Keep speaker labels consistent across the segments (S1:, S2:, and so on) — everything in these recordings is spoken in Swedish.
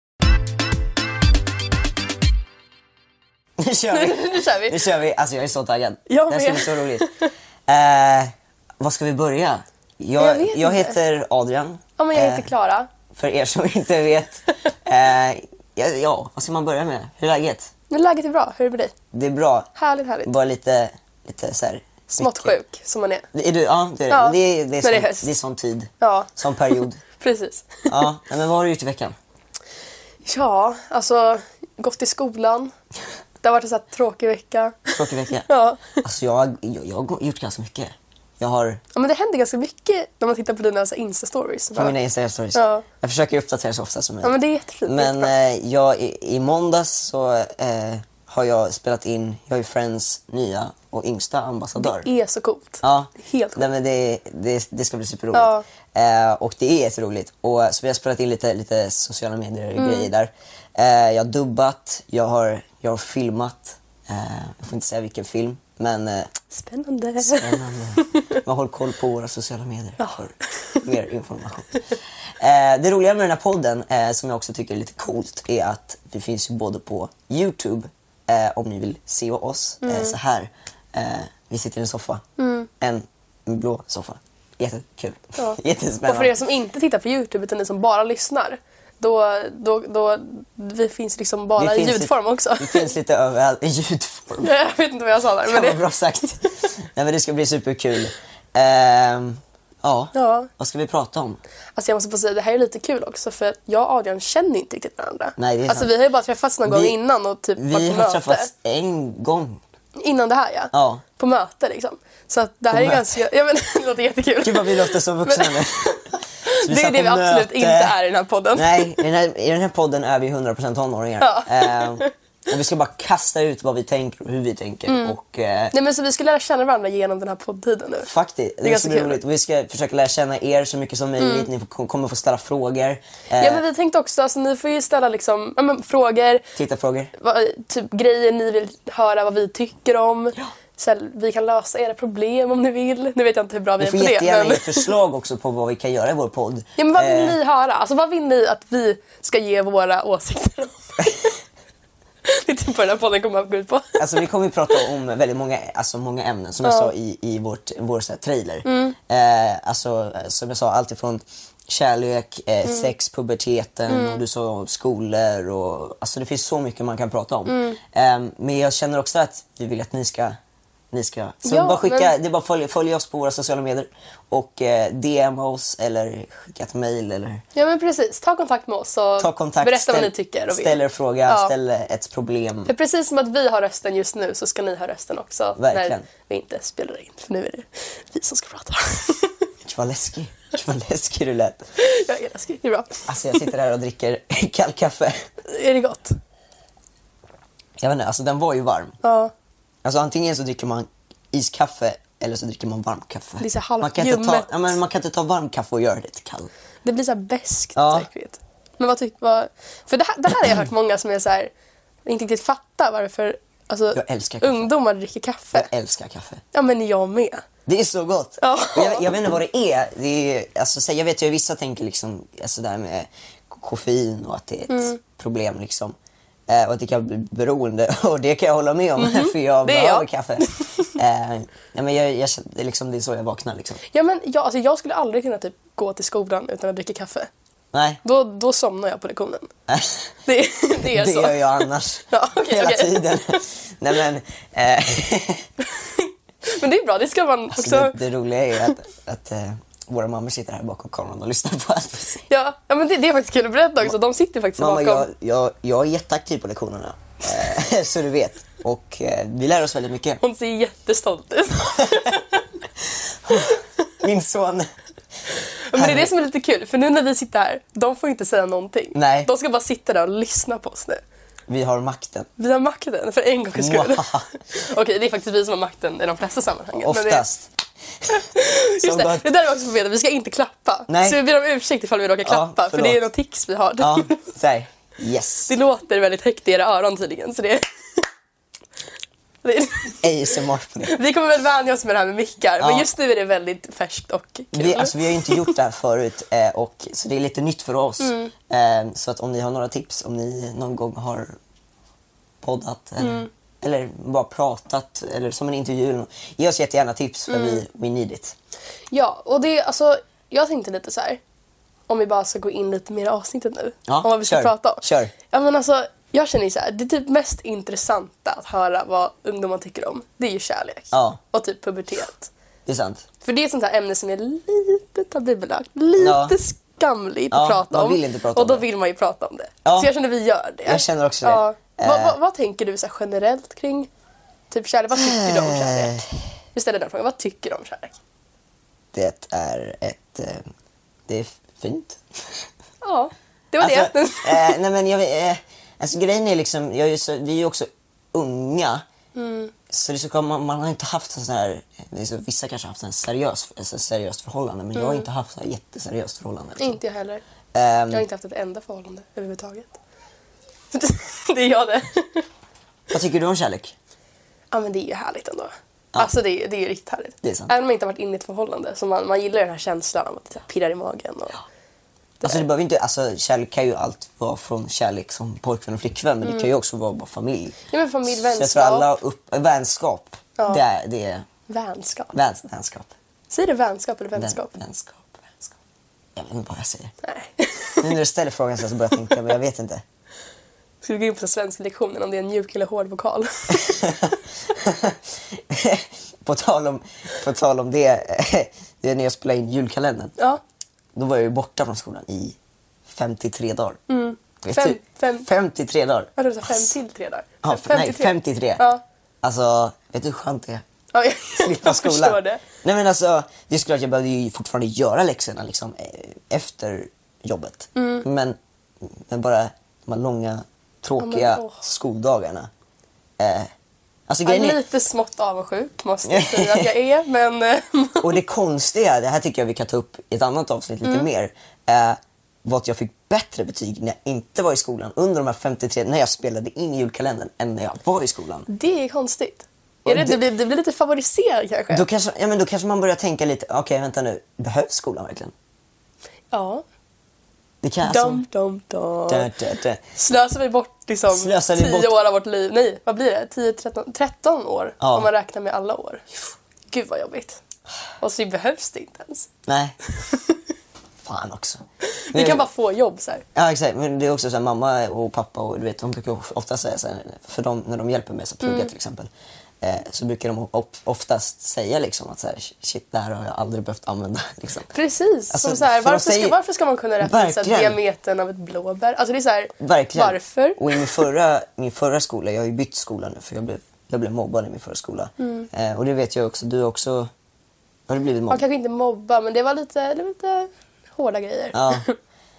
S1: nu kör vi.
S2: nu kör vi.
S1: Nu kör vi. Alltså jag är så taggad.
S2: Jag
S1: det här ska
S2: med.
S1: bli så roligt. Eh, var ska vi börja? Jag,
S2: Jag
S1: jag,
S2: vet inte.
S1: heter Adrian.
S2: Ja, men jag
S1: Eh,
S2: heter Klara.
S1: För er som inte vet. Eh, ja, ja, vad ska man börja med? Hur är läget?
S2: Men läget är bra. Hur är det med dig?
S1: Det är bra.
S2: Härligt, härligt.
S1: Bara lite, lite så här.
S2: Smått sjuk som man är.
S1: Är du, ja, det är,
S2: Ja,
S1: det är, det är,
S2: när det är
S1: sån-
S2: höst.
S1: det är sån tid.
S2: Ja.
S1: Sån period.
S2: Precis.
S1: Ja, nej, men vad har du gjort i veckan?
S2: Ja, alltså gått i skolan. Det har varit en så här tråkig vecka.
S1: Tråkig vecka.
S2: Ja.
S1: Alltså jag, har- jag, jag har gjort ganska mycket. Jag har,
S2: ja, men det händer ganska mycket när man tittar på dina så här, Insta-stories.
S1: på
S2: Bara-
S1: mina Instagram-stories.
S2: Ja.
S1: Jag försöker uppdatera så ofta som möjligt.
S2: Ja, men det är jättefint.
S1: Men
S2: Jättebra.
S1: eh, jag, i, i måndags så eh, har jag spelat in, jag är Friends nya och yngsta ambassadör.
S2: Det är så coolt.
S1: Ja,
S2: Helt
S1: Nej,
S2: coolt.
S1: men det, det, det ska bli superroligt. Eh, och det är jätteroligt. Och, så vi har spelat in lite, lite sociala
S2: Mm.
S1: medier-grejer där. Eh, jag har dubbat, jag har, jag har filmat. Eh, jag får inte säga vilken film, men eh,
S2: Spännande.
S1: spännande. Man håller koll på våra sociala medier för mer information. Eh, det roliga med den här podden, eh, som jag också tycker är lite coolt, är att vi finns ju både på YouTube, eh, om ni vill se oss
S2: Mm.
S1: eh, så här. Eh, vi sitter i en soffa. En, en blå soffa. Jättekul.
S2: Ja.
S1: Jättespännande.
S2: Och för er som inte tittar på Youtube utan ni som bara lyssnar. Då, då, då, vi finns liksom
S1: Vi
S2: bara i
S1: finns
S2: ljudform
S1: lite,
S2: också.
S1: Vi finns lite överallt i ljudform.
S2: Jag vet inte vad jag sa där. Men
S1: Fan vad
S2: det,
S1: bra sagt. Nej, men det ska bli superkul. Ehm, ja.
S2: Ja.
S1: vad ska vi prata om?
S2: alltså jag måste få säga, det här är lite kul också för jag och Adrian känner inte riktigt varandra.
S1: Nej, det är
S2: alltså
S1: sant.
S2: vi har ju bara träffats någon gång
S1: Vi-
S2: innan och typ varit på
S1: Vi har
S2: möte.
S1: träffats en gång.
S2: Innan det här ja.
S1: Ja.
S2: På möte liksom. Så att det här är
S1: möte.
S2: ganska, ja men det låter jättekul.
S1: Gud vad vi låter som vuxna
S2: Men-
S1: nu. Så
S2: det är
S1: satt
S2: det vi
S1: på
S2: absolut
S1: möte.
S2: inte är i den här podden.
S1: Nej, i den här, i den här podden är vi 100% tonåringar.
S2: Ja.
S1: Ehm, och vi ska bara kasta ut vad vi tänker och hur vi tänker.
S2: Mm.
S1: Och, eh,
S2: Nej men så vi ska lära känna varandra genom den här poddtiden nu.
S1: Faktiskt, det,
S2: ganska
S1: ska bli
S2: kul.
S1: roligt. Vi ska försöka lära känna er så mycket som möjligt. Ni får- kommer få ställa frågor. Eh,
S2: Ja men vi tänkte också, alltså, ni får ju ställa liksom, ja, men, frågor,
S1: Titta frågor.
S2: vad, typ grejer ni vill höra vad vi tycker om. Så här, vi kan lösa era problem om ni vill. Nu vet jag inte hur bra vi
S1: Ni
S2: är på
S1: får
S2: det.
S1: jättegärna
S2: Men,
S1: ge förslag också på vad vi kan göra i vår podd.
S2: ja, men vad vill
S1: Eh,
S2: ni höra? Alltså vad vill ni att vi ska ge våra åsikter om? det är typ vad den här podden kommer att gå ut på.
S1: Alltså, vi kommer ju prata om väldigt många, alltså, många ämnen som jag sa i, i vårt, vår så här, trailer.
S2: Mm.
S1: Eh, alltså, eh, som jag sa, allt ifrån kärlek, eh,
S2: Mm.
S1: sex, puberteten och du sa skolor. Och, alltså, det finns så mycket man kan prata om.
S2: Mm.
S1: Eh, men jag känner också att vi vill att ni ska ni ska. Så
S2: Ja,
S1: bara skicka,
S2: men-
S1: det är bara följ, följ oss på våra sociala medier och eh, DM oss eller skicka ett mail eller
S2: Ja men precis, ta kontakt med oss och
S1: ta kontakt.
S2: berätta vad
S1: ställ-
S2: ni tycker och vill.
S1: Ställ er fråga,
S2: Ja. Typ.
S1: ställ ett problem.
S2: För precis som att vi har rösten just nu så ska ni ha rösten också
S1: Verkligen.
S2: när vi inte spelar in. För nu är det vi som ska prata.
S1: Gud, Vad läskig. Gud, Vad läskig du lät.
S2: jag är läskig, det är bra.
S1: Alltså jag sitter här och dricker kall kaffe.
S2: Är det gott?
S1: Jag vet inte, alltså den var ju varm.
S2: Ja.
S1: Alltså antingen så dricker man iskaffe eller så dricker man varmt kaffe.
S2: Det är så här halvt
S1: man kan, inte ta,
S2: ljummet.
S1: ja, men man kan inte ta varmt kaffe och göra det till kallt.
S2: Det blir så här beskt
S1: Ja.
S2: säkert. Men vad tycker vad... För det här, det här har jag hört många som är så här, inte riktigt fattar varför alltså,
S1: Jag älskar kaffe.
S2: ungdomar dricker kaffe.
S1: Jag älskar kaffe.
S2: Ja men jag med.
S1: Det är så gott.
S2: Ja.
S1: Och Jag, jag vet inte vad det är. Det är alltså, så här, jag vet ju vissa tänker liksom, alltså, det här med k- koffein och att det är ett
S2: Mm.
S1: problem. Liksom. Eh, och att det kan bli beroende. Och det kan jag hålla med om för jag
S2: Mm-hmm. Det är
S1: behöver
S2: jag.
S1: kaffe. Eh, ja, men jag, jag, känner- det är liksom, det är så jag vaknar. Liksom.
S2: Ja, men jag, alltså, jag skulle aldrig kunna typ, gå till skolan utan att dricka kaffe.
S1: Nej.
S2: Då, då somnar jag på lektionen. Det, det är
S1: det
S2: så.
S1: gör jag annars.
S2: Ja, okej,
S1: hela
S2: okej.
S1: tiden. Nej, men, eh,
S2: Men det är bra, det ska man också...
S1: alltså, det, det roliga är att, att eh, våra mammor sitter här bakom kameran och lyssnar på allt.
S2: Ja, ja men det, det är faktiskt kul att berätta också. De sitter faktiskt
S1: Mamma,
S2: bakom.
S1: jag, jag, jag är jätteaktiv på lektionerna. eh, så du vet. Och eh, vi lär oss väldigt mycket.
S2: Hon ser jättestolt ut.
S1: Min son.
S2: Men det är det som är lite kul, för nu när vi sitter här, de får inte säga någonting.
S1: Nej.
S2: De ska bara sitta där och lyssna på oss nu.
S1: Vi har makten.
S2: Vi har makten, för en gångs skull.
S1: Wow.
S2: Okej, det är faktiskt vi som har makten i de flesta sammanhangen. men
S1: Oftast.
S2: Det, just
S1: Som bara-
S2: det, det där vi också får veta, vi ska inte klappa.
S1: Nej.
S2: Så vi ber om ursäkt ifall vi råkar klappa, för
S1: förlåt.
S2: det är något tics vi har.
S1: Ja, så här. Yes.
S2: Det låter väldigt högt i era öron tydligen, så det... det är...
S1: ASMR på det.
S2: Vi kommer väl vänja oss med det här med mickar, men
S1: Ja.
S2: just nu är det väldigt färskt och kul.
S1: Vi, alltså, vi har ju inte gjort det här förut, eh, och, så det är lite nytt för oss. Eh, så att om ni har några tips, om ni någon gång har poddat eller eller bara pratat eller som en intervju. eller något. Ge oss jättegärna tips för vi we need it.
S2: Ja, och det, alltså, jag tänkte lite så här. Om vi bara ska gå in lite mer i avsnittet nu.
S1: Ja,
S2: om vad vi ska
S1: kör.
S2: prata om.
S1: Kör.
S2: Ja, men alltså, jag känner ju så här, det typ mest intressanta att höra vad ungdomar tycker om, det är ju kärlek.
S1: Ja.
S2: Och typ pubertet.
S1: Det är sant.
S2: För det är ett sånt här ämne som är lite tabubelagt, lite
S1: Ja.
S2: skamligt
S1: Ja,
S2: att prata
S1: man
S2: om.
S1: vill inte prata
S2: och
S1: om
S2: då
S1: det.
S2: vill man ju prata om det.
S1: Ja.
S2: Så jag känner vi gör det.
S1: Jag känner också det.
S2: Ja.
S1: Eh.
S2: Vad, vad, vad tänker du så här generellt kring typ kärlek? Vad tycker du om kärlek? Vi ställer den frågan, vad tycker du om kärlek?
S1: Det är ett... eh, Det är fint.
S2: Ja, det var
S1: alltså,
S2: det.
S1: eh, nej men jag, vet- eh, alltså grejen är liksom, jag är ju så, vi är ju också unga. Så det är så, kom- man, man har inte haft en sån här, det är så, vissa kanske har haft en seriös, alltså ett seriöst förhållande men jag har inte haft ett jätteseriöst förhållande. liksom.
S2: Inte jag heller.
S1: Ehm,
S2: Mm. Jag har inte haft ett enda förhållande överhuvudtaget. det är jag det.
S1: Vad tycker du om kärlek?
S2: Ja men det är ju härligt ändå. Alltså det är, det är ju riktigt härligt.
S1: Det är sant.
S2: Även om man inte har varit inne i ett förhållande så man, man gillar den här känslan av att det pirrar i magen. Och...
S1: Alltså, det behöver inte, alltså, kärlek kan ju allt vara från kärlek som pojkvän och flickvän men det kan ju också vara bara familj.
S2: Mm. Ja, men familj,
S1: Så jag tror alla
S2: vänskap,
S1: upp, äh, vänskap.
S2: Ja.
S1: Det är, det är
S2: vänskap.
S1: väns, vänskap.
S2: Säger du vänskap eller
S1: Vän-
S2: vänskap?
S1: vänskap. Vänskap. Jag vet inte vad jag säger.
S2: Nej.
S1: Nu när du ställer frågan så börjar jag tänka men jag vet inte.
S2: Ska vi gå in på svenska lektionen om det är en mjuk eller hård vokal?
S1: på, tal om, på tal om det, det är när jag spelade in julkalendern.
S2: ja.
S1: Då var jag ju borta från skolan i 53 dagar. Vet
S2: Mm. Fem-
S1: du?
S2: fem-
S1: 53 dagar.
S2: Jag trodde du sa fem till tre dagar.
S1: Ja, f- nej, 53.
S2: Ja.
S1: Alltså, vet du hur skönt det är?
S2: ja jag,
S1: Slippa
S2: jag
S1: skolan.
S2: förstår det.
S1: Nej men alltså, det är såklart jag behövde ju fortfarande göra läxorna liksom eh, efter jobbet.
S2: Mm.
S1: Men, men bara de här långa, tråkiga
S2: Ja, men, åh.
S1: skoldagarna. Eh, alltså
S2: Jag
S1: grejen
S2: är
S1: är,
S2: lite smått avundsjuk måste jag säga att jag är, men... eh,
S1: och det konstiga, det här tycker jag vi kan ta upp i ett annat avsnitt
S2: Mm.
S1: lite mer, eh, var att jag fick bättre betyg när jag inte var i skolan under de här 53, när jag spelade in i julkalendern, än när jag var i skolan.
S2: Det är konstigt. Är det,
S1: det-
S2: det, blir, det blir lite favoriserad kanske?
S1: Då kanske, ja, men då kanske man börjar tänka lite, okej vänta nu, behövs skolan verkligen?
S2: Ja.
S1: Det kan, alltså-
S2: Dum, dum, dum.
S1: dö, dö, dö.
S2: Slösar vi bort liksom
S1: Slösar vi
S2: 10
S1: bort-
S2: år av vårt liv? Nej, vad blir det? 10, 13, 13 år
S1: Ja.
S2: om man räknar med alla år. Gud vad jobbigt. Och så behövs det inte ens.
S1: Nej. Fan också.
S2: Vi kan bara få jobb så här.
S1: Ja exakt, men det är också så här, mamma och pappa och du vet, de brukar ofta säga så här, för de, när de hjälper mig att plugga till exempel, eh, så brukar de of- oftast säga liksom att så här, shit det här har jag aldrig behövt använda. Liksom.
S2: Precis.
S1: Alltså,
S2: som så här,
S1: för de
S2: varför,
S1: säger-
S2: ska, varför ska man kunna räkna så här,
S1: Verkligen.
S2: diametern av ett blåbär? Alltså det är så här,
S1: Verkligen.
S2: varför?
S1: Och i min förra, min förra skola, jag har ju bytt skola nu för jag blev, jag blev mobbad i min förra skola. Eh, och det vet jag också, du har också, har du blivit
S2: Man
S1: mobbad?
S2: kanske inte mobba, men det var lite, det var lite hårda grejer.
S1: Ja.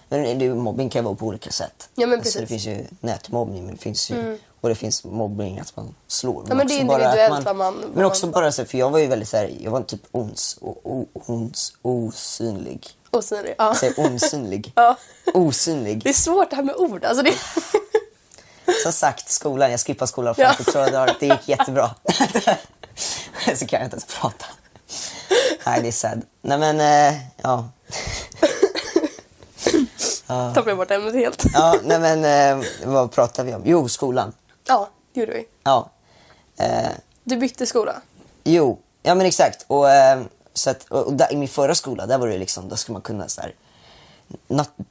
S1: Men det, mobbing kan ju vara på olika sätt. Alltså,
S2: Ja, men
S1: det
S2: precis. Mm.
S1: finns ju nätmobbning men det finns ju, och det finns mobbing att man slår.
S2: Ja, men det är
S1: också bara att
S2: individuellt vad man-
S1: Men
S2: vad
S1: också
S2: man-
S1: bara så här, för jag var ju väldigt så här, jag var typ ons, o, o, ons, osynlig.
S2: Osynlig. Ja.
S1: Säg osynlig.
S2: Ja.
S1: Osynlig.
S2: Det är svårt det här med ord. Alltså det...
S1: Som sagt, skolan, jag skippade skolan
S2: Ja.
S1: fram till två dagar. Det gick jättebra. så kan jag inte ens prata. Nej, det är sad. Nej men, eh, ja.
S2: Tappade jag bort ämnet helt.
S1: Ja, nej men eh, vad pratar vi om? Jo, skolan.
S2: Ja, det gjorde vi.
S1: Ja. Eh,
S2: Du bytte skola.
S1: Jo, ja men exakt. Och, eh, så att, och, och där, I min förra skola där var det liksom, där skulle man kunna så här, nat-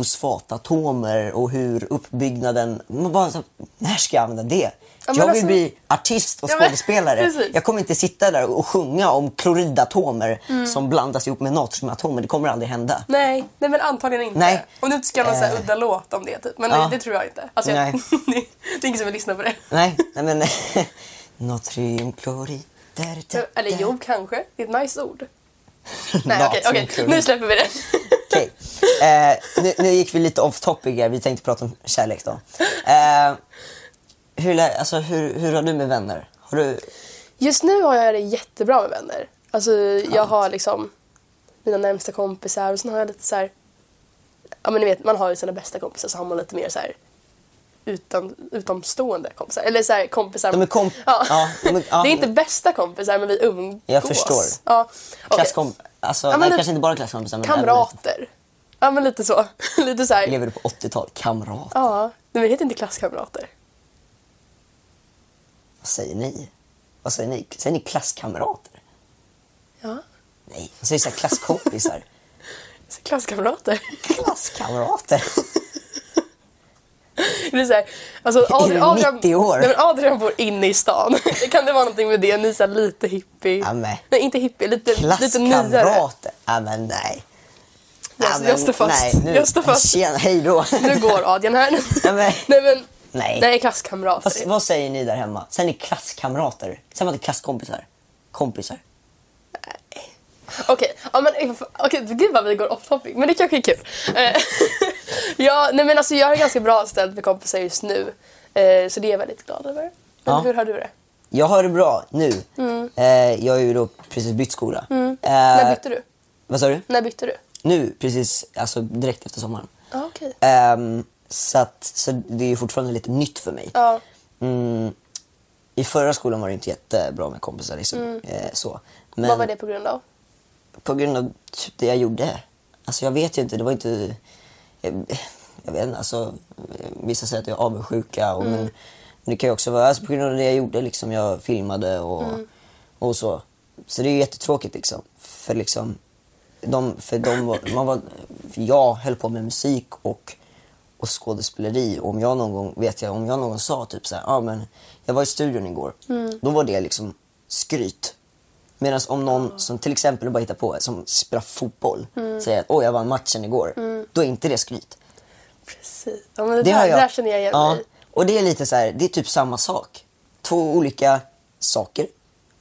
S1: natriumkloridfosfatatomer och hur uppbyggnaden... Man bara, så, här, när ska jag använda det?
S2: men
S1: jag vill
S2: alltså-
S1: bli artist och
S2: Ja, men-
S1: skådespelare.
S2: precis.
S1: jag kommer inte sitta där och sjunga om kloridatomer
S2: Mm.
S1: som blandas ihop med natriumatomer. Det kommer aldrig hända.
S2: Nej, nej men antagligen inte.
S1: Nej.
S2: Om du inte ska göra någon så här
S1: Eh.
S2: udda låt om det. Typ. Men
S1: Ja.
S2: det, det tror jag inte. Alltså, jag...
S1: Nej.
S2: det är ingen som vill lyssna på det.
S1: Nej, nej men... natriumklorid... där, där,
S2: Eller
S1: där.
S2: jo, kanske. Det är ett nice ord. Nej, okej. okej.
S1: Natriumklorid.
S2: Nu släpper vi det.
S1: Okej. Eh, nu, nu gick vi lite off topic här. Vi tänkte prata om kärlek då. Eh, hur, lä- alltså, hur, hur har du med vänner? Har du...
S2: Just nu har jag det jättebra med vänner. Alltså, jag har liksom mina närmsta kompisar och sen har jag lite så här... Ja, men ni vet, man har ju sina bästa kompisar så har man lite mer så här utan, utomstående kompisar. Eller så här kompisar...
S1: De är komp-
S2: ja.
S1: ja, de är- ja.
S2: Det är inte bästa kompisar, men vi umgås.
S1: Jag förstår.
S2: Ja. okej.
S1: Klasskom... Alltså,
S2: men
S1: nej,
S2: det-
S1: kanske inte bara klasskompisar. men även liksom,
S2: Kamrater. Ja, men lite så. lite så här...
S1: lite- Lever du på 80-tal? Kamrat?
S2: Ja, nej, men det heter inte klasskamrater.
S1: Vad säger ni? Vad säger ni? Säger ni klasskamrater?
S2: Ja.
S1: Nej, man säger så här klasskompisar.
S2: Så Klasskamrater.
S1: klasskamrater?
S2: Det blir så här, alltså
S1: Är du
S2: Adrian, Adrian,
S1: 90 år?
S2: Nej, men Adrian bor inne i stan. kan det vara någonting med det? Ni är så här lite hippie.
S1: Ja, men.
S2: Nej, inte hippie. Lite, lite nyare.
S1: Klasskamrater? Ja, men nej.
S2: Jag-
S1: Ja,
S2: jag står fast.
S1: Nej, nu,
S2: Jag står fast.
S1: Tjena, hej då.
S2: Nu går Adrian här.
S1: Ja, men-
S2: nej, men,
S1: Nej.
S2: nej klasskamrater.
S1: Fast, vad säger ni där hemma? Sen är klasskamrater. Sen var det klasskompisar. Kompisar.
S2: Okej, ja, men okay, gud vad vi går off topic, men det kanske är kul. Eh, ja, nej, men alltså, jag har ganska bra ställt med kompisar just nu, eh, så det är jag väldigt glad över. Men
S1: Ja.
S2: Hur har du det?
S1: Jag har det bra nu. Eh, jag har ju då precis bytt skola. Eh,
S2: Mm. När bytte du?
S1: Vad sa du?
S2: När bytte du?
S1: Nu, precis, alltså direkt efter sommaren.
S2: Ja, okej.
S1: Ehm, så, att, så det är ju fortfarande lite nytt för mig.
S2: Ja,
S1: Mm, I förra skolan var det inte jättebra med kompisar. Liksom. Eh, så. Men
S2: Mm. Vad var det på grund av?
S1: på grund av typ det jag gjorde. Alltså jag vet ju inte, det var inte... Jag, jag vet inte, alltså eh, vissa säger att jag är avundsjuka. Och, men, men det kan ju också vara alltså, på grund av det jag gjorde, liksom, jag filmade och, och så. Så det är ju jättetråkigt liksom. För liksom, de, för de var, man var, för jag höll på med musik och, och skådespeleri. Och om jag någon gång, vet jag, om jag någon sa typ så här, ah, men jag var i studion igår. Då var det liksom skryt. Medan om någon som till exempel du bara hittar på, som spelar fotboll, säger att åh jag vann matchen igår. Då är inte det skryt.
S2: Precis. Ja, men det, där, det där känner jag igen
S1: Ja,
S2: mig i.
S1: Och det är lite så här, det är typ samma sak. Två olika saker.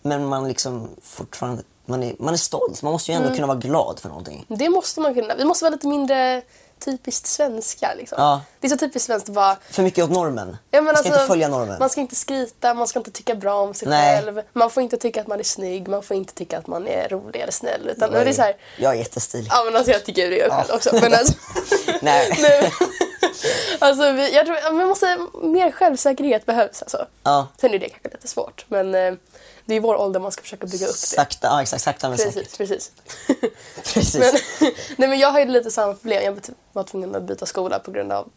S1: Men man liksom fortfarande, man är, man är stolt. Man måste ju ändå
S2: Mm.
S1: kunna vara glad för någonting.
S2: Det måste man kunna. Vi måste vara lite mindre typiskt svenska. Liksom.
S1: Ja.
S2: Det är så typiskt svenskt att bara...
S1: För mycket åt normen.
S2: Ja, men
S1: man ska
S2: alltså,
S1: inte följa normen.
S2: Man ska inte skrita, man ska inte tycka bra om sig
S1: Nej.
S2: själv. Man får inte tycka att man är snygg, man får inte tycka att man är rolig eller snäll. Utan, men
S1: jag,
S2: det är så här,
S1: jag är jättestilig.
S2: ja, men alltså, jag tycker det jag själv också. Men alltså,
S1: Nej.
S2: nej. alltså, vi, jag tror, ja, men måste, mer självsäkerhet behövs. Alltså.
S1: Ja.
S2: Sen är det kanske lite svårt, men eh, det är i vår ålder man ska försöka bygga upp det.
S1: Sakta, ja, exakt, sakta men säkert.
S2: Precis, precis.
S1: Precis.
S2: Men, nej, men jag har ju lite samma problem. Jag var tvungen att byta skola på grund av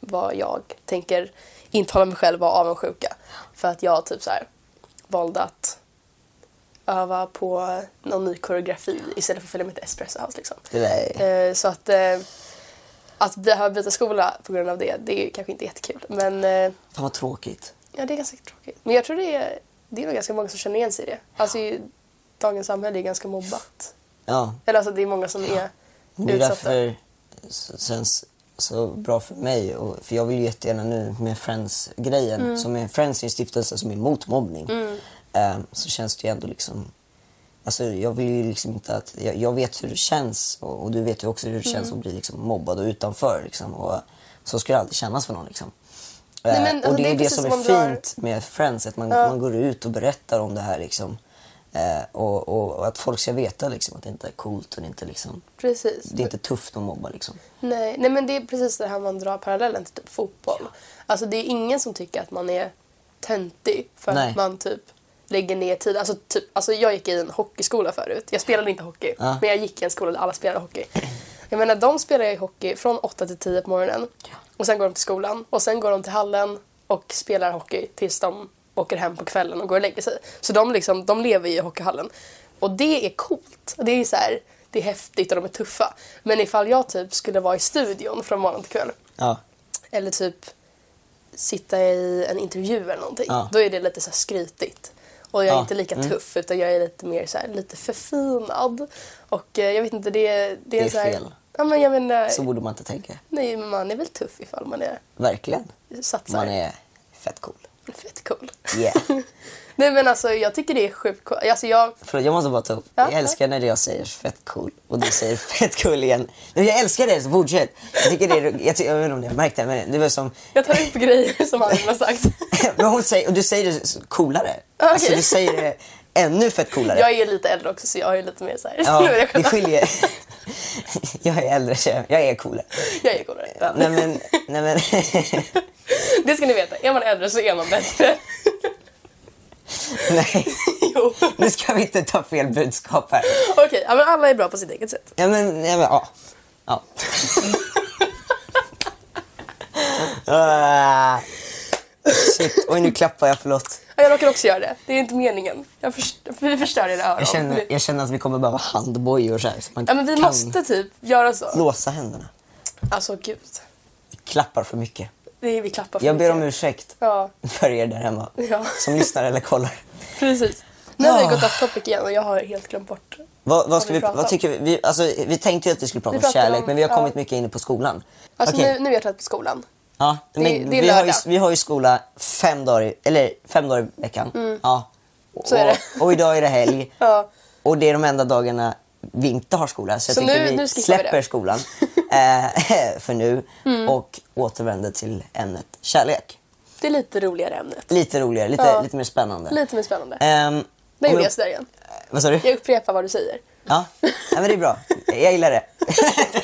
S2: vad jag tänker intala mig själv vara avundsjuka. För att jag typ så här, valde att öva på någon ny koreografi istället för att följa mitt espresso house. Liksom.
S1: Det där är...
S2: Eh, så att, eh, att behöva byta skola på grund av det, det är ju kanske inte jättekul. Men eh,
S1: Fan vad tråkigt.
S2: ja, det är ganska tråkigt. Men jag tror det är, det är nog ganska många som känner igen sig i det. Alltså, i dagens samhälle är ganska mobbat.
S1: Ja,
S2: Eller alltså det är många som är
S1: Det är
S2: utsatta.
S1: därför det känns så bra för mig. Och, för jag vill ju jättegärna nu med Friends-grejen,
S2: Mm.
S1: som är Friends är en stiftelse som är mot mobbning. Eh, så känns det ju ändå liksom... Alltså jag vill ju liksom inte att... Jag, jag vet hur det känns och, och du vet ju också hur det
S2: Mm.
S1: känns att bli liksom mobbad och utanför. Liksom, och, så ska det aldrig kännas för någon. Liksom. Eh,
S2: Nej, men, alltså,
S1: och det
S2: det är
S1: är det
S2: precis
S1: som
S2: som
S1: är
S2: om du har-
S1: fint med Friends, att man, man går ut och berättar om det här. Liksom. Eh, och, och, och att folk ska veta liksom, att det inte är coolt och det inte liksom...
S2: Precis.
S1: Det är inte tufft att mobba liksom.
S2: Nej, nej, men det är precis det här man drar parallellen till typ fotboll. Alltså det är ingen som tycker att man är töntig för
S1: Nej.
S2: att man typ lägger ner tid. Alltså, typ, alltså jag gick i en hockeyskola förut. Jag spelade inte hockey,
S1: Ja.
S2: men jag gick i en skola där alla spelade hockey. Jag menar, de spelar ju hockey från 8 till 10 på morgonen. Och sen går de till skolan och sen går de till hallen och spelar hockey tills de åker hem på kvällen och går och lägger sig. Så de, liksom, de lever ju i hockeyhallen. Och det är coolt. Det är så här, det är häftigt och de är tuffa. Men ifall jag typ skulle vara i studion från morgon till kväll
S1: Ja.
S2: eller typ sitta i en intervju eller någonting,
S1: Ja.
S2: då är det lite så här skrytigt. Och jag är
S1: Ja,
S2: inte lika
S1: mm.
S2: tuff utan jag är lite mer så här, lite förfinad. Och eh, jag vet inte, det, det, det
S1: är
S2: så här,
S1: fel.
S2: Ja, men jag menar,
S1: Så borde man inte tänka.
S2: nej, men man är väl tuff ifall man är,
S1: Verkligen.
S2: satsar.
S1: Man är fett cool.
S2: Fett cool.
S1: Yeah.
S2: nej men alltså jag tycker det är sjukt coolt. Alltså jag,
S1: Förlåt, jag måste bara ta upp.
S2: Ja,
S1: jag älskar när jag säger fett cool och du säger fett cool igen. Men jag älskar det, så fortsätt. Jag tycker det är... Jag, ty- jag vet inte om ni har märkt det, men det var som...
S2: jag tar upp grejer som han har sagt.
S1: men hon säger, och du säger det så- coolare.
S2: Okej.
S1: Alltså du säger det ännu fett coolare.
S2: jag är lite äldre också så jag är lite mer så här. Nu
S1: Ja,
S2: är
S1: det
S2: jag själv-
S1: skiljer. jag är äldre, så jag- jag är coolare.
S2: Jag är coolare. Ja.
S1: Nej men, nej men.
S2: Det ska ni veta, är man äldre så är man bättre.
S1: nej,
S2: jo.
S1: nu ska vi inte ta fel budskap här.
S2: Okej, ja, men alla är bra på sitt eget sätt.
S1: Ja men, ja. Men, ja. ja. Ah, Shit, oj nu klappar jag, förlåt.
S2: Ja, jag råkar också göra det. Det är inte meningen. Jag förstör, vi förstör era öron.
S1: Jag känner, jag känner att vi kommer behöva handbojor så här. Så man
S2: Ja, men vi
S1: kan
S2: måste typ göra så.
S1: låsa händerna.
S2: Alltså gud.
S1: Vi klappar för mycket.
S2: Det är vi klappar för
S1: Jag ber
S2: mycket.
S1: om ursäkt
S2: Ja,
S1: för er där hemma
S2: Ja.
S1: som lyssnar eller kollar.
S2: precis. Nu har vi
S1: Ah.
S2: gått off topic igen och jag har helt glömt bort.
S1: Vad, vad,
S2: Vad
S1: ska
S2: vi
S1: vi,
S2: pratar
S1: vad
S2: om.
S1: tycker vi? vi? Alltså, vi tänkte ju att vi skulle prata
S2: Vi
S1: om
S2: pratar
S1: kärlek
S2: om-
S1: men vi har
S2: ja.
S1: kommit mycket in på skolan.
S2: Alltså
S1: Okej.
S2: nu, nu är jag trött på skolan.
S1: Ja, men
S2: det är
S1: vi, har ju,
S2: lördag.
S1: vi har ju skola fem dagar i, eller fem dagar i veckan. Ja.
S2: Mm. Så är det.
S1: Och, och idag är det helg.
S2: Ja.
S1: Och det är de enda dagarna vi inte har skola. Så,
S2: Så
S1: jag tänker
S2: nu-
S1: vi
S2: nu skippar vi
S1: släpper
S2: det. Mm.
S1: skolan eh, för nu och återvänder till ämnet kärlek.
S2: Det är lite roligare ämnet.
S1: Lite roligare, lite,
S2: Ja.
S1: lite mer spännande.
S2: Lite mer spännande.
S1: Ehm,
S2: Där
S1: om
S2: gjorde
S1: vi-
S2: jag sådär igen.
S1: Vad sa du?
S2: Jag upprepar vad du säger.
S1: Ja, Nej, men det är bra. Jag gillar det.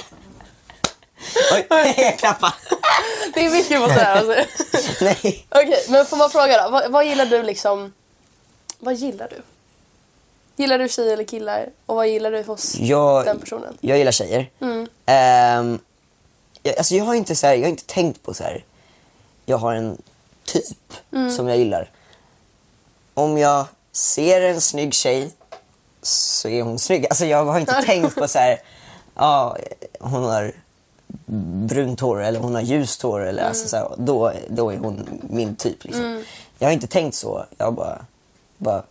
S1: Oj, jag klappar.
S2: Det är mycket på sådär alltså.
S1: Nej.
S2: Okej, men får man fråga då? Vad, vad gillar du liksom? Vad gillar du? Gillar du tjejer eller killar? Och vad gillar du hos den
S1: Jag,
S2: personen?
S1: jag gillar tjejer.
S2: Mm.
S1: Ehm, jag, alltså jag, har inte så här, jag har inte tänkt på så här. jag har en typ
S2: Mm.
S1: som jag gillar. Om jag ser en snygg tjej så är hon snygg. Alltså jag har inte tänkt på så här, ja, hon har brunt hår eller hon har ljust hår. Eller,
S2: Mm.
S1: alltså så här, då, då är hon min typ. Liksom. Jag har inte tänkt så. Jag bara, bara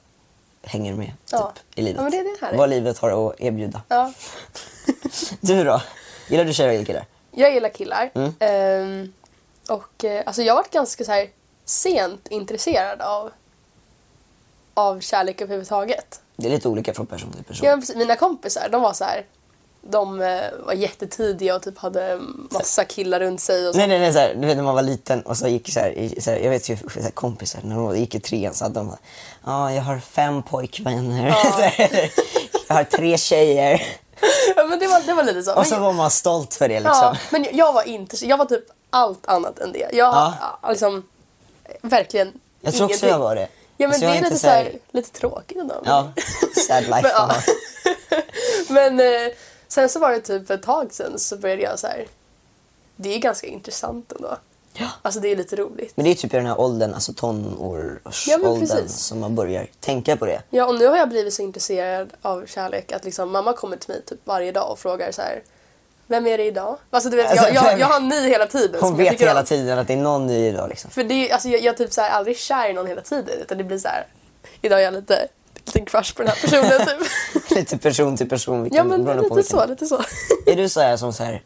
S1: hänger med typ,
S2: Ja.
S1: i livet.
S2: Ja, men det är det här.
S1: Vad livet har att erbjuda.
S2: Ja.
S1: Du då? Gillar du tjejer eller killar?
S2: Jag gillar killar.
S1: Mm.
S2: Ehm, och eh, alltså jag har varit ganska så här sent intresserad av, av kärlek överhuvudtaget.
S1: Det är lite olika från person till person.
S2: Ja, men precis. Mina kompisar, de var så här. De eh, var jättetidiga och typ hade massa killar runt sig. Och så.
S1: Nej, nej, nej. Så här, du vet när man var liten och så gick så här, i, så här, jag vet ju så här, kompisar, när de gick i trean så hade de ja, ah, jag har fem pojkvänner. Så här, jag har tre tjejer.
S2: Ja, men det, var, det var lite så. Men-
S1: Och så var man stolt för det
S2: Ja,
S1: Alltså, liksom.
S2: men jag var inte så- Jag var typ allt annat än det. Jag
S1: Ja.
S2: ja. liksom verkligen
S1: Jag tror också
S2: ingenting.
S1: jag var det.
S2: Ja men
S1: Så jag
S2: det
S1: är
S2: är lite,
S1: inte
S2: så
S1: så här-
S2: här, lite tråkigt ändå.
S1: Ja, sad life.
S2: Men, ja.
S1: man.
S2: men eh, sen så var det typ ett tag sen så började jag så här. Det är ganska intressant ändå.
S1: Ja.
S2: Alltså det är lite roligt.
S1: Men det är typ i den här åldern, alltså
S2: Ja, men
S1: tonårsåldern,
S2: precis.
S1: som man börjar tänka på det.
S2: Ja och nu har jag blivit så intresserad av kärlek att liksom mamma kommer till mig typ varje dag och frågar så här. Vem är det idag? Alltså du vet
S1: Alltså,
S2: jag, jag,
S1: vem-
S2: jag har en ny hela tiden.
S1: Hon
S2: som jag
S1: vet
S2: tycker om.
S1: hela tiden att det är någon ny idag liksom.
S2: För det, är- alltså, jag, jag är typ så här aldrig kär i någon hela tiden utan det blir så här. Idag är jag lite, lite crush på den här personen typ.
S1: lite person till person, vilken,
S2: ja men
S1: beroende på
S2: lite
S1: vilken
S2: så, lite så.
S1: Är du så här som så här,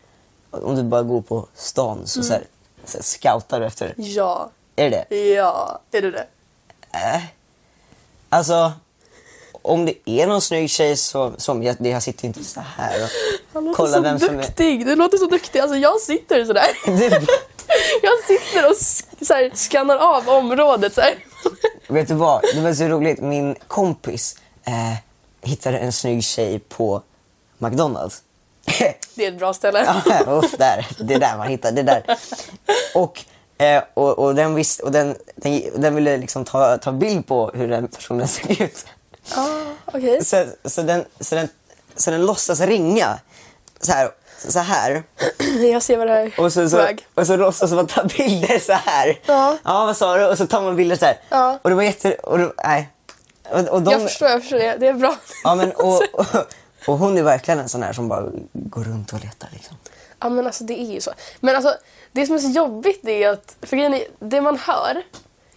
S1: om du bara går på stan så, så, här, så här, scoutar du efter?
S2: ja,
S1: Är det det?
S2: ja, är du det?
S1: Äh. Alltså, om det är någon snygg tjej så, som jag, jag sitter inte så här och
S2: Han låter
S1: kollar
S2: så
S1: vem som är...
S2: duktig, du låter så duktig. Alltså jag sitter sådär.
S1: Du,
S2: Jag sitter och sk- så här, skannar av området så här.
S1: vet du vad? Det var så roligt. Min kompis eh, hittade en snygg tjej på McDonalds.
S2: Det är ett bra ställe.
S1: Ja, Uff, där. Det är där man hittar. Det är där. Och, eh, och, och, den, visst, och den, den, den ville liksom ta, ta bild på hur den personen såg ut.
S2: Ah, Okej.
S1: Så, så, den, så, den, så den låtsas ringa så här. Så här.
S2: Jag ser vad det här
S1: Och, så,
S2: på
S1: så,
S2: väg.
S1: och så låtsas man ta bilder så här.
S2: Ja.
S1: vad sa du? Och så tar man bilder så här.
S2: Ja.
S1: Och det var jätte... Och, det- nej. Och, och de,
S2: Jag förstår, jag förstår. Det det är bra.
S1: Ja, men, och, och, och hon är verkligen en sån här som bara går runt och letar. Liksom.
S2: Ja men alltså det är ju så. Men alltså det som är så jobbigt det är att, för grejen är, det man hör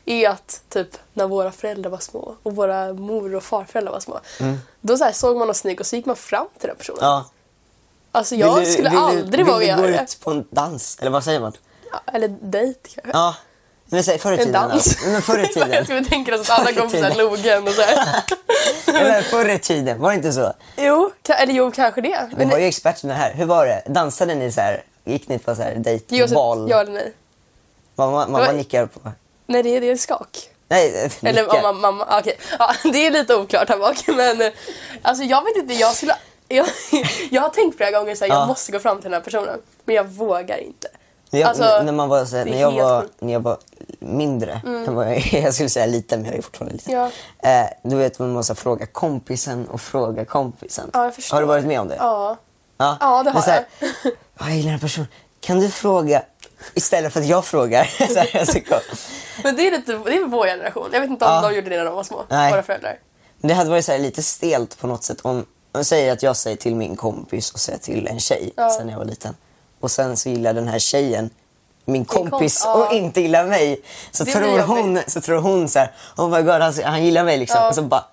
S2: är att typ när våra föräldrar var små och våra mor och farföräldrar var små. Då så här, såg man någon snygg och så gick man fram till den personen.
S1: Mm. Ja.
S2: Alltså jag
S1: Vill du-
S2: skulle
S1: vill du-
S2: aldrig våga
S1: Vill
S2: göra
S1: du gå
S2: det.
S1: ut på en dans? Eller vad säger man?
S2: Ja, Eller dejt kanske.
S1: Ja. Men säg, förr i
S2: En
S1: tiden.
S2: dans.
S1: Alltså. Men förr i tiden.
S2: jag skulle tänka oss att alla
S1: Förr i
S2: går på såhär
S1: tiden.
S2: logen och såhär.
S1: Eller förr i tiden, var det inte så?
S2: jo, ka- eller jo kanske det.
S1: Ni
S2: Men
S1: var ju experterna här. Hur var det? Dansade ni så här? Gick ni på så här
S2: ge oss ett
S1: dejtval?
S2: ja eller nej.
S1: Mamma, mamma
S2: Det var-
S1: nickar på...
S2: Nej det är, det är skak.
S1: Nej, eh,
S2: Eller
S1: nickar.
S2: om man, mamma, ah, okej. Ja, det är lite oklart här bak men eh, alltså jag vet inte, jag skulle jag, jag har tänkt flera gånger att
S1: Ja.
S2: jag måste gå fram till den här personen men jag vågar inte.
S1: När jag,
S2: alltså,
S1: när man var, så här,
S2: det är
S1: när, jag
S2: helt
S1: var,
S2: sjukt. Mm.
S1: när jag var mindre, när jag, var, jag skulle säga liten men jag är ju fortfarande liten.
S2: Ja.
S1: Eh, du vet man måste fråga kompisen och fråga kompisen.
S2: Ja, jag förstår.
S1: Har du varit med om det?
S2: Ja.
S1: Ja,
S2: Ja, det
S1: Men
S2: har
S1: så här, jag. gillar den här personen. Kan du fråga Istället för att jag frågar. Så här, jag ska gå.
S2: Men det är, lite, det är vår generation. Jag vet inte om
S1: Ja.
S2: de gjorde det när de var små,
S1: Nej.
S2: våra föräldrar.
S1: Men det hade varit så här lite stelt på något sätt om, om jag säger att jag säger till min kompis och säger till en tjej
S2: Ja.
S1: sen jag var liten. Och sen så gillar den här tjejen min
S2: kompis,
S1: kompis
S2: ja.
S1: och inte gillar mig. Så
S2: Det
S1: tror
S2: blir
S1: hon, så tror hon så här, oh my god han, han gillar mig liksom.
S2: Ja.
S1: Och så bara,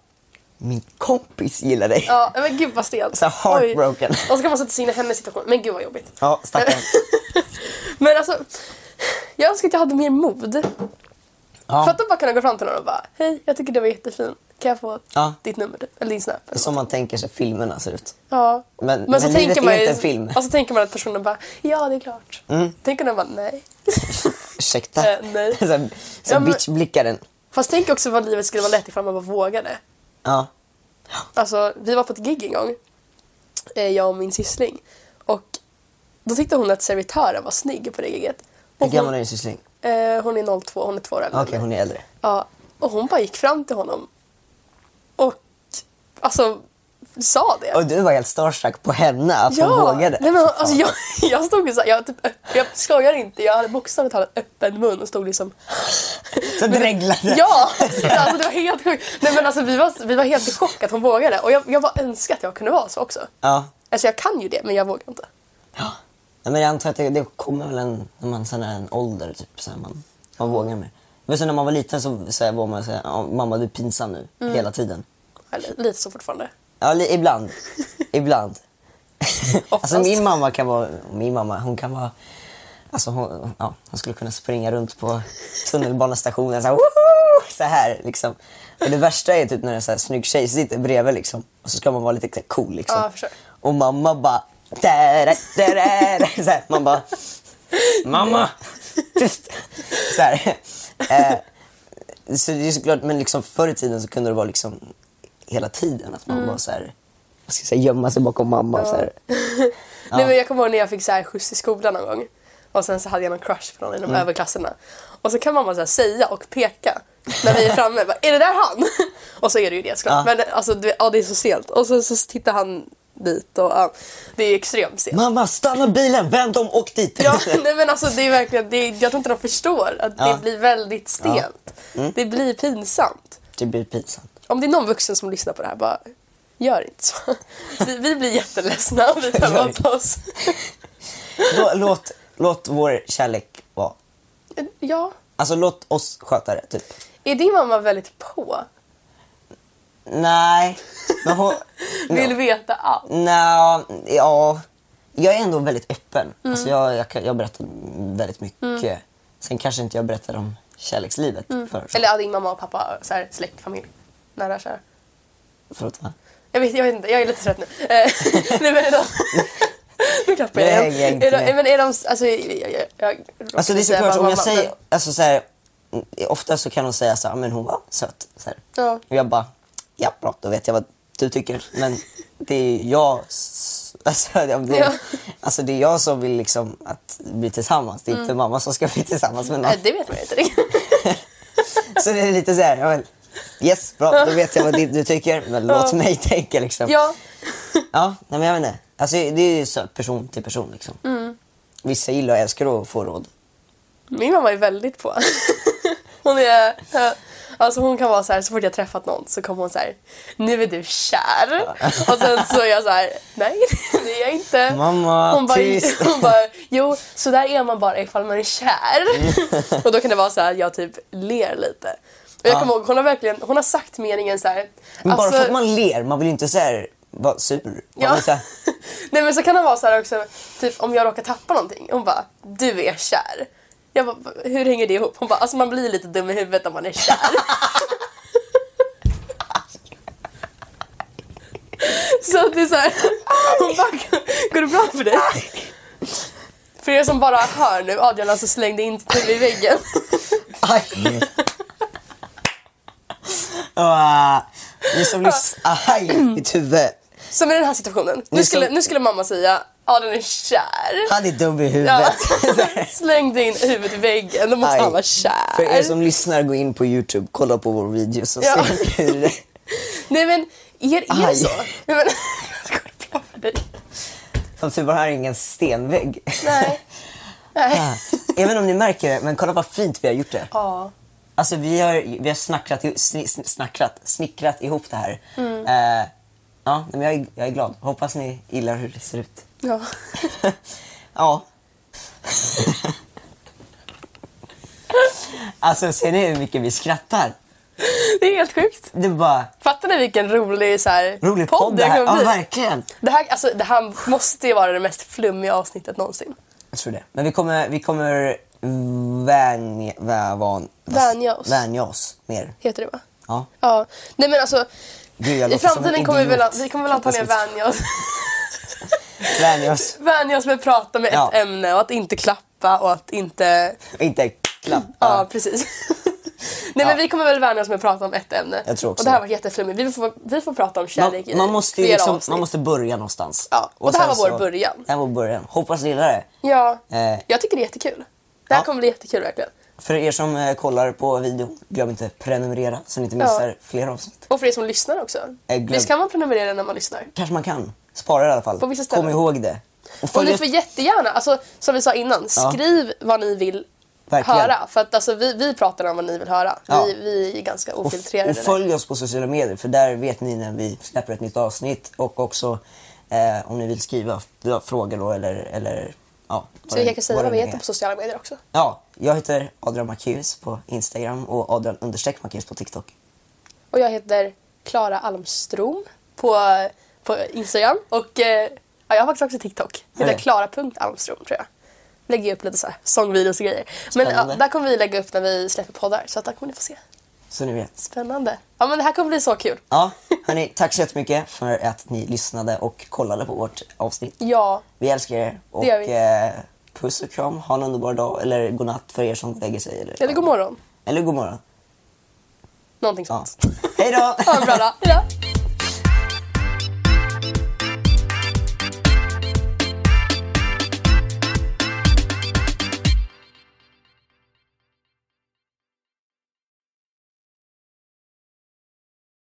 S1: min kompis gillar dig.
S2: Ja, men gud vad stelt.
S1: Så här heartbroken.
S2: Oj. Och så kan man sätta sig in i hennes situation. Men gud vad jobbigt.
S1: Ja, stackarn.
S2: Men alltså, jag önskar att jag hade mer mod. För
S1: Ja.
S2: att då bara kunna gå fram till någon och bara Hej, jag tycker du var jättefin. Kan jag få
S1: Ja.
S2: ditt nummer? Eller din snap? Eller
S1: Som man tänker sig filmerna ser ut.
S2: Ja.
S1: Men- men livet är inte en film. Mm.
S2: Och så tänker man att personen bara, ja det är klart. Tänk om den bara, nej.
S1: Ursäkta.
S2: Eh, nej.
S1: så här, så
S2: Ja,
S1: här
S2: men-
S1: bitchblickaren.
S2: Fast tänk också vad livet skulle vara lätt ifall man bara vågade.
S1: Ja.
S2: Alltså, vi var på ett gig en gång, eh, jag och min syssling. Och då tyckte hon att servitören var snygg på det giget.
S1: Hur
S2: Och
S1: gammal
S2: hon,
S1: är din syssling?
S2: eh, hon är 02, hon är två år äldre.
S1: Okej, hon är äldre.
S2: Ja, och hon bara gick fram till honom. Och alltså, sa det.
S1: Och du var helt starstruck på henne att hon vågade.
S2: Nej, men,
S1: Fy fan.
S2: alltså, jag, jag stod ju såhär, jag, typ, jag skojar inte, jag hade bokstavligt talat öppen mun och stod liksom
S1: Så dreglade.
S2: Ja! Alltså, det var helt sjukt. Nej, men alltså, vi, var, vi var helt i chock att hon vågade och jag, jag bara önskar att jag kunde vara så också.
S1: Ja.
S2: Alltså jag kan ju det men jag vågar inte.
S1: Ja, men jag antar att det, det kommer väl en, när man sen är en ålder, typ, så här, man, man vågar mer. Men sen när man var liten så, så här, var man så här, "Ja, mamma du är pinsam nu,
S2: Mm.
S1: hela tiden.
S2: Eller, lite så fortfarande.
S1: Ja, li, ibland. ibland. alltså
S2: Oftast.
S1: min mamma kan vara, min mamma hon kan vara, alltså hon, ja, hon skulle kunna springa runt på tunnelbanestationen så här, "Woho!" så här liksom. Och det värsta är typ när en så här, snygg tjej sitter bredvid liksom och så ska man vara lite så här, cool liksom.
S2: Ja, jag förstår.
S1: och mamma bara, "Tara, tara", så här, man bara, mamma, tyst. Så här. Eh, så det är såklart, men liksom förr i tiden så kunde det vara liksom hela tiden att
S2: Mm.
S1: man var så här, vad ska jag säga, gömma sig bakom mamma. Och så här.
S2: Nej, men jag kommer ihåg när jag fick så här skjuts i skolan någon gång. Och sen så hade jag någon crush på någon i de
S1: Mm.
S2: överklasserna. Och så kan mamma så här säga och peka när vi är framme. Bara, är det där han? Och så är det ju det såklart.
S1: Ja.
S2: Men alltså, du, vet, ja, det är så sent. Och så, så tittar han dit och ja, det är extremt sent.
S1: Mamma stanna bilen, vänd om, åk dit.
S2: Ja, nej, men alltså, det är verkligen, det är, jag tror inte de förstår att
S1: Ja. Mm.
S2: det blir väldigt stelt. Det blir pinsamt.
S1: Det blir pinsamt.
S2: Om det är någon vuxen som lyssnar på det här, bara gör inte så. Vi, vi blir jätteledsna om vi tar
S1: Gör
S2: emot
S1: inte.
S2: oss.
S1: Lå- Låt, låt vår kärlek vara.
S2: Ja.
S1: Alltså låt oss sköta det, typ.
S2: Är din mamma väldigt på?
S1: Nej, men hon...
S2: Vill veta allt?
S1: Nja, ja. Jag är ändå väldigt öppen.
S2: Mm.
S1: Alltså jag, jag, kan- jag berättar väldigt mycket. Sen kanske inte jag berättar om kärlekslivet för,
S2: Mm. Eller ja, din mamma och pappa, så här, släkt, familj, nära kära.
S1: förlåt va?
S2: Jag vet, jag vet inte, jag är lite trött nu. Eh, Nej men är de... Nu klappar
S1: Nu
S2: jag
S1: hänger jag
S2: igen.
S1: inte
S2: Är de,
S1: med.
S2: men är de, alltså, jag, jag, jag
S1: Alltså det är
S2: råkade säga
S1: såklart,
S2: bara
S1: om jag
S2: mamma,
S1: säger...
S2: men-
S1: Alltså så här, ofta så kan de säga så här, men hon var söt. Så här.
S2: Ja.
S1: Och jag bara, ja bra, då vet jag vad du tycker. Men det är jag... s- Alltså det,
S2: Ja.
S1: alltså det är jag som vill liksom att bli tillsammans. Det är inte mamma som ska bli tillsammans med någon.
S2: Mm. Nej, Eh, det vet man ju inte riktigt.
S1: Så det är lite så här, ja, men, yes bra, då vet jag vad du, du tycker. Men låt mig tänka liksom.
S2: Ja.
S1: Ja, nej, men jag vet inte. Alltså, det är ju så, person till person. Liksom.
S2: Mm.
S1: Vissa gillar och älskar att få råd.
S2: Min mamma är väldigt på. Hon är... eh, Alltså hon kan vara så här, så fort jag träffat någon så kommer hon så här, nu är du kär. Och sen så är jag så här, nej det är jag inte.
S1: Mamma,
S2: hon bara,
S1: tyst.
S2: hon bara, jo så där är man bara ifall man är kär. Och då kan det vara så här, jag typ ler lite. Och jag
S1: Mm. Ja.
S2: kommer ihåg, hon har verkligen, hon har sagt meningen så här.
S1: Men bara
S2: alltså-
S1: för att man ler, man vill ju inte så här, vara sur. Man
S2: Ja.
S1: vill så här,
S2: Nej men så kan det vara så här också, typ om jag råkar tappa någonting. Hon bara, du är kär. Jag bara, hur hänger det ihop? Hon bara, alltså man blir lite dum i huvudet om man är kär. så att det är så här, hon bara, går det bra för dig? För er som bara hör nu, Adrian alltså slängde in sitt huvud i väggen.
S1: aj. Åh, Ah, Ni som lyssnar, aj, mitt huvud.
S2: Som i den här situationen. Nu skulle, nu skulle mamma säga, Adrian är kär.
S1: Han är dum i
S2: Ja.
S1: huvudet.
S2: Slängde in huvudet i väggen, då måste
S1: Aj.
S2: han vara
S1: För er
S2: kär.
S1: som lyssnar, gå in på Youtube, kolla på vår video så
S2: Ja.
S1: ser ni hur det...
S2: Nej men, är, är det
S1: Aj.
S2: så? Nej, men, jag skojar bara för dig.
S1: Som tur var här är ingen stenvägg.
S2: Nej. Nej.
S1: Ah, Även om ni märker det, men kolla vad fint vi har gjort det.
S2: Ja.
S1: Alltså vi har, vi har snackrat, i- sni, sni- snackrat, snickrat ihop det här.
S2: Mm.
S1: Eh, ja, men jag, är, jag är glad. Hoppas ni gillar hur det ser ut.
S2: ja.
S1: ja. alltså ser ni hur mycket vi skrattar?
S2: Det är helt sjukt.
S1: Det är bara
S2: Fattar ni vilken rolig, så här,
S1: rolig podd, det
S2: det
S1: här.
S2: kommer
S1: Ja,
S2: bli?
S1: verkligen.
S2: Det här, alltså, det här måste ju vara det mest flummiga avsnittet någonsin.
S1: Jag tror det. Men vi kommer, vi kommer vänja, vä- van,
S2: Vänja oss.
S1: vänja oss mer.
S2: Heter det va?
S1: Ja.
S2: Ja. Nej men alltså,
S1: Gud, jag
S2: i
S1: låter som en
S2: framtiden kommer vi väl,
S1: idiot.
S2: vi kommer väl antagligen vänja oss,
S1: Vänja oss.
S2: vänja oss med att prata med
S1: Ja.
S2: ett ämne och att inte klappa och att inte...
S1: Inte klappa.
S2: Ja, precis. Nej men vi kommer väl vänja oss med att prata om ett ämne.
S1: Jag tror också
S2: och det här
S1: det.
S2: var jätteflummigt. Vi får, vi får prata om
S1: Man,
S2: kärlek i
S1: man, måste ju
S2: flera
S1: liksom,
S2: avsnitt.
S1: man måste börja någonstans.
S2: Ja, och det här
S1: sen
S2: var vår början.
S1: Det här var början. Hoppas ni gillar det.
S2: Ja,
S1: Eh.
S2: jag tycker det är jättekul. Det här
S1: Ja.
S2: kommer bli jättekul verkligen.
S1: För er som eh, kollar på videon, glöm inte prenumerera så ni inte missar
S2: Ja.
S1: fler avsnitt.
S2: Och för er som lyssnar också.
S1: Eh, glöm-
S2: Visst kan man prenumerera när man lyssnar?
S1: Kanske man kan. Spara det i alla fall.
S2: På vissa ställen.
S1: Kom ihåg det. Och
S2: Och
S1: följ
S2: ni
S1: oss-
S2: får jättegärna, alltså, som vi sa innan,
S1: Ja.
S2: skriv vad ni vill
S1: Verkligen.
S2: höra. För att alltså, vi, vi pratar om vad ni vill höra.
S1: Ja.
S2: Vi, vi är ganska
S1: och,
S2: ofiltrerade.
S1: och följ oss på sociala medier för där vet ni när vi släpper ett nytt avsnitt och också eh, om ni vill skriva f- frågor då eller, eller ja. vad
S2: så
S1: det-
S2: vi kan säga
S1: det
S2: vad vi
S1: nu
S2: heter
S1: är.
S2: på sociala medier också.
S1: Ja, jag heter Adrian Marcus på Instagram och Adrian understreck Marcus på TikTok.
S2: Och jag heter Klara Almstrom på, på Instagram. Och eh, ja, jag har faktiskt också TikTok. Jag
S1: Har
S2: heter
S1: du?
S2: Klara.almstrom tror jag. Lägger ju upp lite så här sångvideos och grejer. Men ja,
S1: Spännande.
S2: där kommer vi lägga upp när vi släpper poddar. Så att där kommer ni få se.
S1: Så ni vet.
S2: Spännande. Ja men det här kommer bli så kul.
S1: Ja, hörni, tack så jättemycket för att ni lyssnade och kollade på vårt avsnitt.
S2: Ja,
S1: Vi älskar er och
S2: Det gör vi.
S1: eh, puss och kram. Ha en underbar dag eller god natt för er som lägger sig. Eller,
S2: eller god morgon.
S1: Eller god morgon.
S2: Någonting
S1: Ja.
S2: sånt.
S1: Hej då!
S2: Ha en bra dag. Hejdå.